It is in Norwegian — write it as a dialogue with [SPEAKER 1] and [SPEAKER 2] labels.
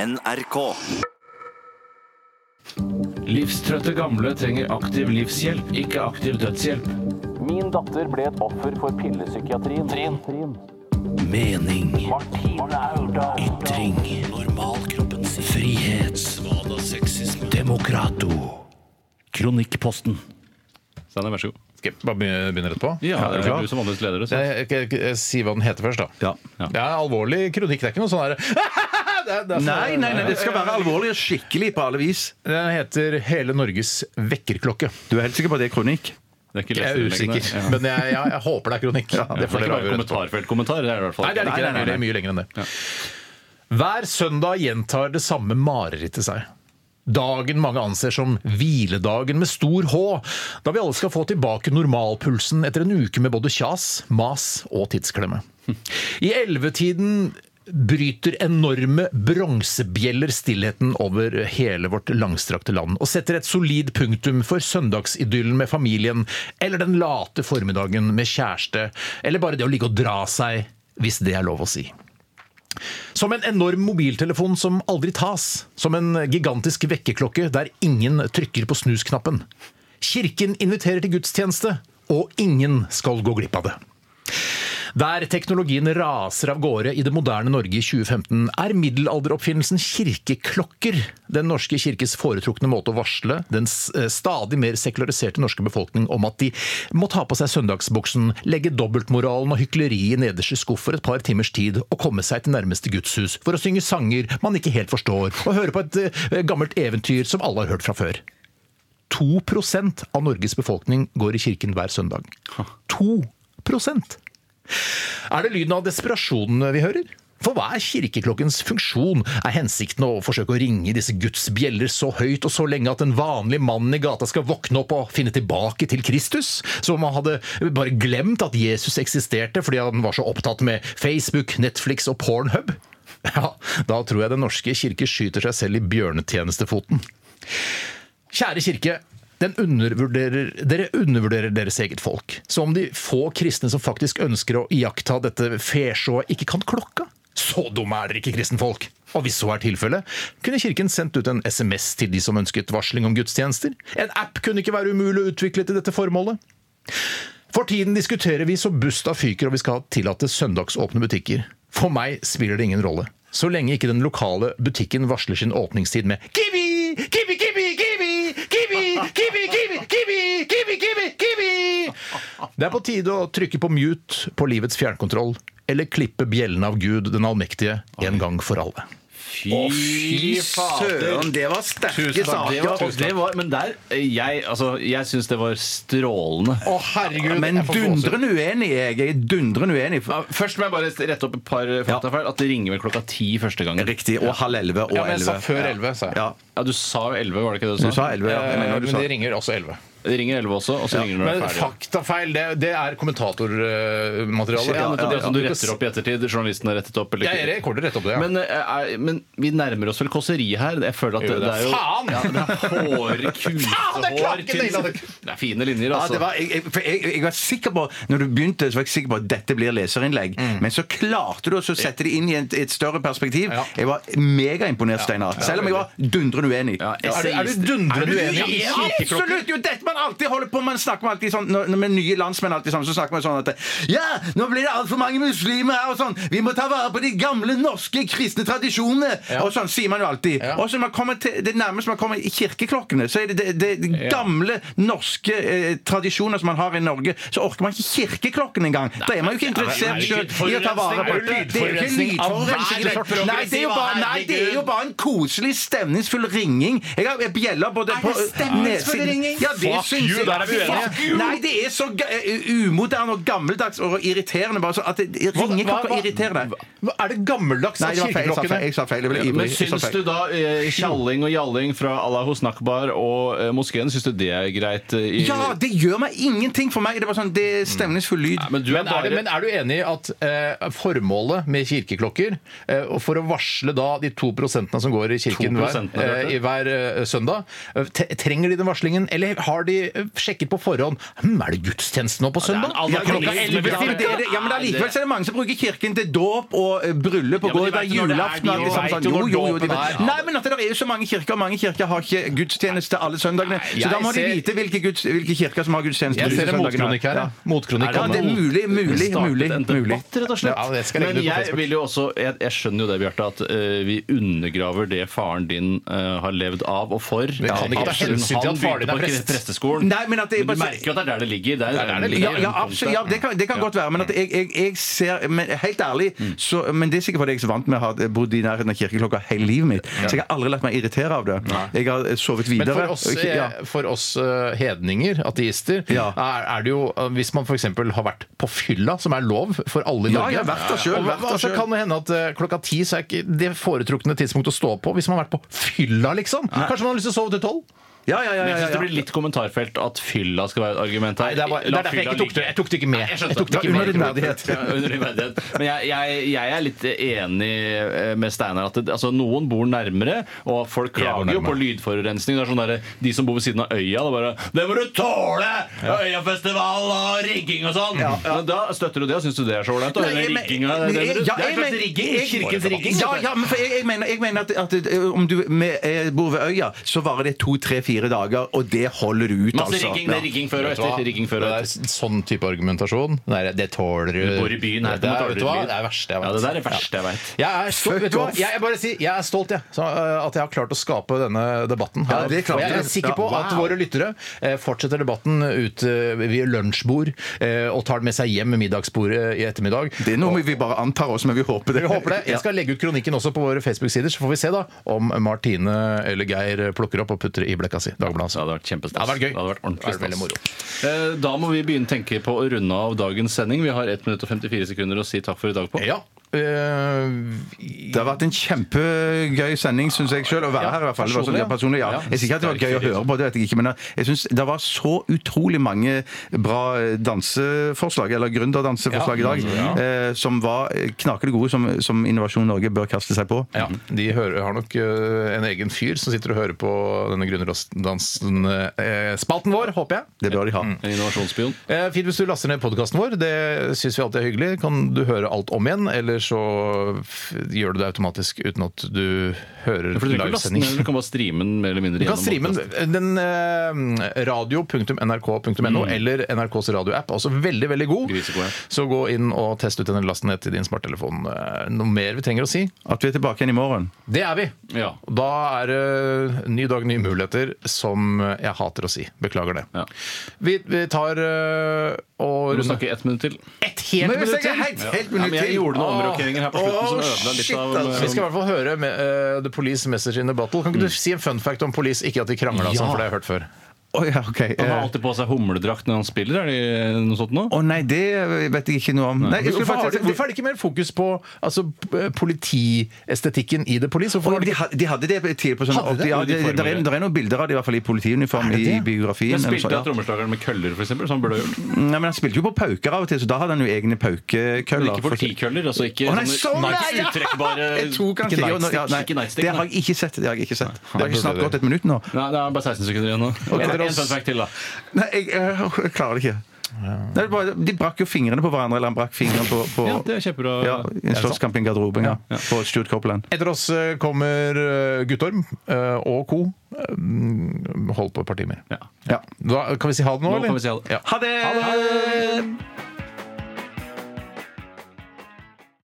[SPEAKER 1] NRK.
[SPEAKER 2] Livstrøtte gamle trenger aktiv livshjelp, ikke aktiv dødshjelp.
[SPEAKER 3] Min datter ble et offer for pillepsykiatrien. Trin. Trin.
[SPEAKER 2] Mening,
[SPEAKER 3] Martine Aurdal.
[SPEAKER 2] ytring, normalkroppens frihet, demokrato. Kronikkposten.
[SPEAKER 4] Steinar, vær så god.
[SPEAKER 5] Skal jeg bare begynne begynne rett på?
[SPEAKER 4] Ja, det
[SPEAKER 5] er du
[SPEAKER 4] er
[SPEAKER 5] klar?
[SPEAKER 4] du som vanligvis leder. Så.
[SPEAKER 5] Jeg, jeg, jeg, jeg sier eh, hva den heter først, da.
[SPEAKER 4] Ja, ja.
[SPEAKER 5] Det er alvorlig kronikk. Det er ikke noe sånn her det er- det er sånn-
[SPEAKER 6] Nei, nei, nei, det skal være alvorlig og skikkelig på alle vis.
[SPEAKER 5] Den heter 'Hele Norges vekkerklokke'.
[SPEAKER 6] Du er helt sikker på at det er kronikk?
[SPEAKER 4] Det er ikke
[SPEAKER 5] Jeg er
[SPEAKER 4] leserinnleggene.
[SPEAKER 5] usikker, men jeg, jeg, jeg håper det er kronikk.
[SPEAKER 4] Ja, for det var jo kommentarfeltkommentar. Det er det i hvert fall
[SPEAKER 5] Nei, det er det ikke.
[SPEAKER 6] Nei, nei, nei,
[SPEAKER 5] Det er mye lenger enn det. Hver søndag gjentar det samme marerittet seg. Dagen mange anser som hviledagen med stor H, da vi alle skal få tilbake normalpulsen etter en uke med både kjas, mas og tidsklemme. I ellevetiden bryter enorme bronsebjeller stillheten over hele vårt langstrakte land, og setter et solid punktum for søndagsidyllen med familien, eller den late formiddagen med kjæreste, eller bare det å ligge og dra seg, hvis det er lov å si. Som en enorm mobiltelefon som aldri tas. Som en gigantisk vekkerklokke der ingen trykker på snusknappen. Kirken inviterer til gudstjeneste, og ingen skal gå glipp av det. Der teknologien raser av gårde i det moderne Norge i 2015, er middelalderoppfinnelsen kirkeklokker den norske kirkes foretrukne måte å varsle den s- eh, stadig mer sekulariserte norske befolkning om at de må ta på seg søndagsbuksen, legge dobbeltmoralen og hykleriet nederst i skuff for et par timers tid og komme seg til nærmeste gudshus for å synge sanger man ikke helt forstår, og høre på et eh, gammelt eventyr som alle har hørt fra før. 2 av Norges befolkning går i kirken hver søndag. 2 Er det lyden av desperasjonen vi hører? For hva er kirkeklokkens funksjon? Er hensikten å forsøke å ringe disse Guds bjeller så høyt og så lenge at den vanlige mannen i gata skal våkne opp og finne tilbake til Kristus? Som om han hadde bare glemt at Jesus eksisterte fordi han var så opptatt med Facebook, Netflix og Pornhub? Ja, da tror jeg Den norske kirke skyter seg selv i bjørnetjenestefoten. Kjære kirke, den undervurderer, dere undervurderer deres eget folk. Som om de få kristne som faktisk ønsker å iaktta dette fesjået, ikke kan klokka. Så dumme er dere ikke, kristenfolk! Og hvis så er tilfellet, kunne Kirken sendt ut en SMS til de som ønsket varsling om gudstjenester? En app kunne ikke være umulig å utvikle til dette formålet? For tiden diskuterer vi så busta fyker og vi skal tillate søndagsåpne butikker. For meg spiller det ingen rolle. Så lenge ikke den lokale butikken varsler sin åpningstid med Kiwi! Kiwi, kiwi, kiwi! Kiwi, kiwi, kiwi, kiwi, kiwi, kiwi, kiwi! Det er på tide å trykke på mute på livets fjernkontroll, eller klippe bjellen av Gud den allmektige en gang for alle.
[SPEAKER 6] Fy søren, det var sterke
[SPEAKER 4] Det
[SPEAKER 6] saker!
[SPEAKER 4] var, det var, men der eh, Jeg, altså, jeg syns det var strålende.
[SPEAKER 5] Å, herregud!
[SPEAKER 6] Men dundrende uenig, jeg. jeg er dundrende uenig.
[SPEAKER 4] Ja, Først må jeg bare rette opp et par faktafeil. At det ringer vel klokka ti første gangen.
[SPEAKER 6] Riktig. Og halv elleve og
[SPEAKER 5] Ja, men jeg sa
[SPEAKER 6] elleve.
[SPEAKER 5] før elleve, sa jeg.
[SPEAKER 6] Ja.
[SPEAKER 4] Ja, Du sa jo elleve, var det ikke det
[SPEAKER 6] Du sa elleve, ja. Jeg
[SPEAKER 5] Eh,
[SPEAKER 6] mener du
[SPEAKER 5] Men
[SPEAKER 6] sa
[SPEAKER 5] det ringer også elleve.
[SPEAKER 4] Det ringer elleve også, og så ringer det når
[SPEAKER 5] Men
[SPEAKER 4] det er ferdig.
[SPEAKER 5] faktafeil, det, det er kommentatormateriale.
[SPEAKER 4] Ja, nettopp det som du
[SPEAKER 5] Du kan
[SPEAKER 4] retter opp i ettertid. Journalisten har rettet opp.
[SPEAKER 5] s- Jeg rekorder rett opp det, ja.
[SPEAKER 4] Men, eh, er, men vi nærmer oss vel kåseri her. Jeg føler at det, det er jo
[SPEAKER 5] Faen!
[SPEAKER 4] Ja, det er hår, kusehår,
[SPEAKER 5] ikke
[SPEAKER 4] tynn
[SPEAKER 5] naila det.
[SPEAKER 4] Det er fine linjer,
[SPEAKER 6] Ja,
[SPEAKER 4] altså.
[SPEAKER 6] det var, jeg, jeg, for jeg, jeg var sikker på Når du begynte, så var jeg sikker på at dette blir leserinnlegg.
[SPEAKER 5] Mm.
[SPEAKER 6] Men så klarte du også å sette det inn i et, et større perspektiv.
[SPEAKER 5] Ja.
[SPEAKER 6] Jeg var megaimponert, Steinar. Selv om jeg var dundrende uenig.
[SPEAKER 4] Ja,
[SPEAKER 5] er, du, er
[SPEAKER 4] essayist-
[SPEAKER 5] du dundrende uenig i
[SPEAKER 6] Ja,
[SPEAKER 5] kirkeklokken?
[SPEAKER 6] absolutt! Jo, dette man alltid holder på Man snakker med alltid sånn når, når med nye landsmenn alltid sånn, så snakker man sånn at Ja, nå blir det altfor mange muslimer her og sånn. Vi må ta vare på de gamle norske kristne tradisjonene. Og sånn sier man jo alltid.
[SPEAKER 5] Ja.
[SPEAKER 6] Og så når man kommer til det nærmeste man kommer i kirkeklokkene, så er det det, det gamle norske eh, tradisjoner som man har i Norge. Så orker man ikke kirkeklokken engang. Da er man jo ikke interessert
[SPEAKER 5] det er
[SPEAKER 6] selv
[SPEAKER 5] jo
[SPEAKER 6] i å
[SPEAKER 5] ikke
[SPEAKER 6] ta vare på
[SPEAKER 5] lydforurensning.
[SPEAKER 6] Det er jo ikke
[SPEAKER 5] Lydforurensning av hver
[SPEAKER 6] lydforurensning.
[SPEAKER 5] slags
[SPEAKER 6] Nei, det er jo bare, nei, det er jo bare en koselig, stemningsfull ringing. Jeg har jeg bjeller både på
[SPEAKER 5] stemningsfull
[SPEAKER 6] nedsiden-
[SPEAKER 5] ringing?
[SPEAKER 6] Ja, det
[SPEAKER 5] Fuck
[SPEAKER 6] syns
[SPEAKER 5] you,
[SPEAKER 6] jeg.
[SPEAKER 5] der er vi uenige.
[SPEAKER 6] Fuck you. Nei, det er så ga- eh, umoderne og gammeldags og irriterende bare så at det-
[SPEAKER 5] Hva-
[SPEAKER 6] ringeklokker
[SPEAKER 5] hva-
[SPEAKER 6] irriterer deg.
[SPEAKER 5] Hva- Er det gammeldags
[SPEAKER 6] Nei,
[SPEAKER 5] av
[SPEAKER 6] det var feil. Jeg sa feil.
[SPEAKER 5] kirkeklokkene?
[SPEAKER 6] Jeg sa feil. Jeg ble
[SPEAKER 4] Men
[SPEAKER 6] ivrig. Jeg sa
[SPEAKER 4] syns du
[SPEAKER 6] feil.
[SPEAKER 4] da eh, tjalling og jalling fra Allahus Nakbar og eh, moskeen, syns du det er greit? eh, i-
[SPEAKER 6] Ja, det gjør meg ingenting for meg. Det er bare sånn, det er stemningsfull lyd.
[SPEAKER 4] Men du er
[SPEAKER 5] Men er,
[SPEAKER 4] bare
[SPEAKER 5] det, men er du enig i at eh, formålet med kirkeklokker, eh, og for å varsle da de to prosentene som går i kirken hver,
[SPEAKER 4] 2% har hørt det.
[SPEAKER 5] eh, i hver eh, søndag, eh, te- trenger de den varslingen, eller har de de sjekker på forhånd Hm, er det gudstjeneste nå på søndag?
[SPEAKER 4] en
[SPEAKER 5] Ja, klokka
[SPEAKER 4] anakronisme,
[SPEAKER 5] elleve
[SPEAKER 4] vi
[SPEAKER 5] til
[SPEAKER 4] har
[SPEAKER 5] det.
[SPEAKER 6] Altså, det, ja, men allikevel så er det mange som bruker kirken til dåp og eh, bryllup og
[SPEAKER 4] Ja, men de
[SPEAKER 6] går der
[SPEAKER 4] vet jo når det er,
[SPEAKER 6] julaften
[SPEAKER 4] de
[SPEAKER 6] og alt det samme
[SPEAKER 4] vet
[SPEAKER 6] sånn.
[SPEAKER 4] jo
[SPEAKER 6] Jo,
[SPEAKER 4] når
[SPEAKER 6] jo, jo, de
[SPEAKER 4] dåpen
[SPEAKER 6] vet.
[SPEAKER 4] er.
[SPEAKER 6] Nei, men at det er jo så mange kirker, og mange kirker har ikke gudstjeneste alle søndagene.
[SPEAKER 4] jeg
[SPEAKER 6] Så da må de
[SPEAKER 4] ser-
[SPEAKER 6] vite hvilke, guds, hvilke kirker som har gudstjeneste.
[SPEAKER 5] Jeg ser
[SPEAKER 6] disse
[SPEAKER 5] en
[SPEAKER 6] søndagene.
[SPEAKER 5] motkronikk her. ja. Motkronikk
[SPEAKER 6] Ja,
[SPEAKER 5] om-
[SPEAKER 6] det er mulig, mulig,
[SPEAKER 4] startet
[SPEAKER 6] mulig.
[SPEAKER 4] en
[SPEAKER 6] mulig.
[SPEAKER 4] debatt, rett og slett.
[SPEAKER 5] Ja, det skal jeg legge
[SPEAKER 4] Men
[SPEAKER 5] ut på
[SPEAKER 4] jeg
[SPEAKER 5] Facebook.
[SPEAKER 4] vil jo også, jeg, jeg skjønner jo det, Bjarte, at eh, vi undergraver det faren din eh, har levd av og for. Vi
[SPEAKER 5] kan ikke ta hensyn til at faren din er prest.
[SPEAKER 4] presteskolen.
[SPEAKER 6] Nei, men at det-
[SPEAKER 4] men du merker jo at det er der det ligger. Det er,
[SPEAKER 5] er der det ligger.
[SPEAKER 6] Ja, ja, absolutt. Ja, det kan, det kan godt være. Men at jeg, jeg, jeg ser men Helt ærlig,
[SPEAKER 4] Mm.
[SPEAKER 6] så, men det er sikkert fordi jeg er så vant med å ha bodd i nærheten av kirkeklokka hele livet mitt. Så jeg har aldri latt meg irritere av det. Jeg har eh, sovet
[SPEAKER 5] Men
[SPEAKER 6] videre.
[SPEAKER 5] for oss,
[SPEAKER 6] og ikke- ja.
[SPEAKER 5] eh, for oss eh, hedninger, ateister,
[SPEAKER 6] Ja.
[SPEAKER 5] er, er det jo eh, Hvis man f.eks. har vært på fylla, som er lov for alle i
[SPEAKER 6] Ja,
[SPEAKER 5] Norge
[SPEAKER 6] ja, vært der selv,
[SPEAKER 5] og-
[SPEAKER 6] vært der
[SPEAKER 5] og så
[SPEAKER 6] selv.
[SPEAKER 5] kan det hende at eh, klokka ti så er ikke det foretrukne tidspunktet å stå opp på hvis man har vært på fylla, liksom. Kanskje man har lyst til å sove til tolv?
[SPEAKER 6] Ja, ja, ja,
[SPEAKER 4] Men
[SPEAKER 6] ja,
[SPEAKER 4] jeg
[SPEAKER 6] ja,
[SPEAKER 4] syns det blir litt kommentarfelt at fylla skal være et argument her.
[SPEAKER 5] Nei, det er bare- det er
[SPEAKER 4] La
[SPEAKER 5] derfor jeg
[SPEAKER 4] fylla
[SPEAKER 5] ikke tok det.
[SPEAKER 4] ligge.
[SPEAKER 5] Jeg tok det ikke med.
[SPEAKER 4] Nei, jeg skjønte
[SPEAKER 5] Jeg tok det ikke
[SPEAKER 4] var
[SPEAKER 5] med.
[SPEAKER 4] underverdighet. Ja, underverdighet. Men jeg, jeg, jeg er litt enig eh, med Steinar at det, altså, noen bor nærmere, og folk
[SPEAKER 5] Jeg bor
[SPEAKER 4] klager jo
[SPEAKER 5] nærmere.
[SPEAKER 4] på lydforurensning. Det er sånn derre, De som bor ved siden av øya, det er bare Det må du tåle! Øyafestival og rigging og sånn! Men da støtter du det, og syns du det er så ålreit? da?
[SPEAKER 6] Nei, jeg men-
[SPEAKER 4] Rigginga, det- det-
[SPEAKER 6] jeg-
[SPEAKER 4] det
[SPEAKER 6] ja,
[SPEAKER 4] er en
[SPEAKER 6] jeg
[SPEAKER 4] slags
[SPEAKER 6] men-
[SPEAKER 4] rigging.
[SPEAKER 6] jeg-
[SPEAKER 4] Kirkens rigging.
[SPEAKER 6] Ja, ja, men for jeg, jeg mener, jeg mener at, at eh, om du med, eh, bor ved øya, så varer det to, tre, fire dager, og det holder du ut,
[SPEAKER 4] Masse
[SPEAKER 6] altså.
[SPEAKER 4] rigging, det er rigging før og
[SPEAKER 5] Vet du hva?
[SPEAKER 4] etter. Rigging før og
[SPEAKER 5] Det
[SPEAKER 4] etter.
[SPEAKER 5] er sånn type argumentasjon. Det, er, det tåler du.
[SPEAKER 4] Du bor i byen, her,
[SPEAKER 5] det
[SPEAKER 4] du må
[SPEAKER 5] er,
[SPEAKER 4] tåle
[SPEAKER 5] vet du hva?
[SPEAKER 4] lyd.
[SPEAKER 5] Det er det verste jeg vet.
[SPEAKER 4] Ja, det der er det verste jeg vet.
[SPEAKER 5] Jeg er stolt,
[SPEAKER 6] Fuck
[SPEAKER 5] vet du hva?
[SPEAKER 6] off.
[SPEAKER 5] Jeg, jeg bare sier, jeg er stolt, jeg. Så, eh, at jeg har klart å skape denne debatten. her.
[SPEAKER 6] Ja, det klarte
[SPEAKER 5] og jeg
[SPEAKER 6] du.
[SPEAKER 5] er sikker på
[SPEAKER 6] Ja, wow.
[SPEAKER 5] at våre lyttere eh, fortsetter debatten ut eh, ved lunsjbord eh, og tar den med seg hjem med middagsbordet i ettermiddag.
[SPEAKER 6] Det er noe vi bare antar oss, men vi håper det.
[SPEAKER 5] Jeg håper det. Jeg skal legge ut kronikken også på våre Facebook-sider, så får vi se da om Martine eller Geir plukker opp og putter i blekka si. Dagbladet.
[SPEAKER 4] Så det
[SPEAKER 5] altså.
[SPEAKER 4] hadde vært kjempestas.
[SPEAKER 5] Det hadde vært gøy.
[SPEAKER 4] Det hadde vært ordentlig
[SPEAKER 5] Det hadde vært veldig
[SPEAKER 4] stas. Eh, Da må vi begynne å tenke på å runde av dagens sending. Vi har 1 minutt og 54 sekunder å si takk for i dag på.
[SPEAKER 5] Ja. eh,
[SPEAKER 6] Det har vært en kjempegøy sending, syns jeg sjøl, å være
[SPEAKER 5] Ja,
[SPEAKER 6] her. i hvert fall. Det var sånn,
[SPEAKER 5] personlig,
[SPEAKER 6] ja, personlig, ja.
[SPEAKER 4] ja.
[SPEAKER 6] Jeg sier ikke at det var gøy å høre på, det vet jeg ikke, men eh, jeg syns det var så utrolig mange bra eh, danseforslag, eller gründerdanseforslag i dag,
[SPEAKER 5] Ja,
[SPEAKER 6] eh, som var knakende gode, som, som Innovasjon Norge bør kaste seg på.
[SPEAKER 5] Ja, De hører, har nok eh, en egen fyr som sitter og hører på denne gründerdansen-spalten vår, håper jeg.
[SPEAKER 6] Det bør de ha.
[SPEAKER 4] En innovasjonsspion.
[SPEAKER 5] Eh, Fint hvis du laster ned podkasten vår. Det syns vi alltid er hyggelig. Kan du høre alt om igjen, eller så f- gjør du det automatisk uten at du hører
[SPEAKER 4] For du, trenger ikke laste den ned,
[SPEAKER 5] livesending.
[SPEAKER 4] du kan bare streame den mer eller mindre
[SPEAKER 5] Du kan streame
[SPEAKER 4] podcasten.
[SPEAKER 5] den, den eh, radio.nrk.no eller NRKs radioapp. Altså veldig, veldig god.
[SPEAKER 4] Mm. Grisegod, ja.
[SPEAKER 5] Så gå inn og test ut den lasten ned til din smarttelefon. Eh, Noe mer vi trenger å si?
[SPEAKER 6] At vi er tilbake igjen i morgen.
[SPEAKER 5] Det er vi.
[SPEAKER 4] Ja.
[SPEAKER 5] Da er det ny dag, nye muligheter, som jeg hater å si. Beklager det.
[SPEAKER 4] Ja.
[SPEAKER 5] Vi, vi tar øh, og
[SPEAKER 4] Du
[SPEAKER 5] runder
[SPEAKER 4] snakker ett minutt til.
[SPEAKER 5] et helt
[SPEAKER 6] Men hvis
[SPEAKER 5] minutt
[SPEAKER 6] jeg er
[SPEAKER 5] til!
[SPEAKER 6] helt,
[SPEAKER 4] Ja,
[SPEAKER 6] helt
[SPEAKER 4] men
[SPEAKER 6] minutt
[SPEAKER 4] jeg
[SPEAKER 6] til
[SPEAKER 4] gjorde noen omrokeringer her på slutten som
[SPEAKER 6] Åh,
[SPEAKER 4] ødela litt
[SPEAKER 6] shit,
[SPEAKER 4] av eh,
[SPEAKER 6] altså.
[SPEAKER 5] Vi skal i hvert fall høre med, øh, The Police Message in the Battle. Kan ikke du si en fun fact om Police? Ikke at de krangla sånn, for det har jeg hørt før.
[SPEAKER 6] Å ja, OK.
[SPEAKER 4] Han har
[SPEAKER 6] Eh,
[SPEAKER 4] alltid på seg humledrakt når han spiller, er det noe sånt nå?
[SPEAKER 6] Å nei, det vet jeg ikke noe om. Nei, jeg skulle
[SPEAKER 5] Hvorfor, har de,
[SPEAKER 6] faktisk-
[SPEAKER 5] hvorfor er det ikke mer fokus på altså, p- politiestetikken i The Police? Hvorfor
[SPEAKER 6] Og
[SPEAKER 5] har de
[SPEAKER 6] de,
[SPEAKER 5] ikke
[SPEAKER 6] had- de hadde det tidligere på sånn
[SPEAKER 5] Hadde det?
[SPEAKER 6] ja, det,
[SPEAKER 4] Uniformer,
[SPEAKER 6] det, er, det er noen bilder av det, i hvert fall i politiuniform i
[SPEAKER 5] det?
[SPEAKER 6] biografien.
[SPEAKER 4] Men
[SPEAKER 6] eller
[SPEAKER 4] spilte
[SPEAKER 6] sånn, ja.
[SPEAKER 4] han trommeslageren med køller, for eksempel, som han burde ha gjort?
[SPEAKER 6] Nei, men Han spilte jo på pauker av og til, så da hadde han jo egne
[SPEAKER 4] Men
[SPEAKER 6] paukekøller.
[SPEAKER 4] ikke politikøller, altså ikke
[SPEAKER 6] Å, nei, sånn, nei,
[SPEAKER 4] nights-
[SPEAKER 6] ja!
[SPEAKER 4] uttrekkbare
[SPEAKER 6] Jeg tok han
[SPEAKER 4] Ikke
[SPEAKER 6] til- jo, nå-
[SPEAKER 4] nightstick,
[SPEAKER 6] ja, nei,
[SPEAKER 4] ikke nightstick,
[SPEAKER 6] Det har
[SPEAKER 4] nei.
[SPEAKER 6] jeg ikke sett. Det har jeg ikke sett. Det har
[SPEAKER 5] burde
[SPEAKER 6] ikke snart
[SPEAKER 5] det.
[SPEAKER 6] gått et minutt nå.
[SPEAKER 4] Nei, det er bare 16 sekunder igjen nå. En, en fun fact til, da.
[SPEAKER 6] Nei, jeg, øh, jeg klarer det ikke. Nei, det er bare, de brakk jo fingrene på hverandre, eller han brakk fingeren på, på
[SPEAKER 4] Ja, det er kjempebra.
[SPEAKER 6] ja, i en slåsskamp i en garderobe ja, på Stuart Copeland.
[SPEAKER 5] Etter oss øh, kommer øh, Guttorm øh, og co. Øh, Hold på et parti mer.
[SPEAKER 4] Ja.
[SPEAKER 6] Ja.
[SPEAKER 5] Da, kan vi si ha det nå,
[SPEAKER 4] Nå
[SPEAKER 5] eller?
[SPEAKER 4] kan vi si ha det.
[SPEAKER 5] Ja.
[SPEAKER 6] Ha det!
[SPEAKER 5] Ha det!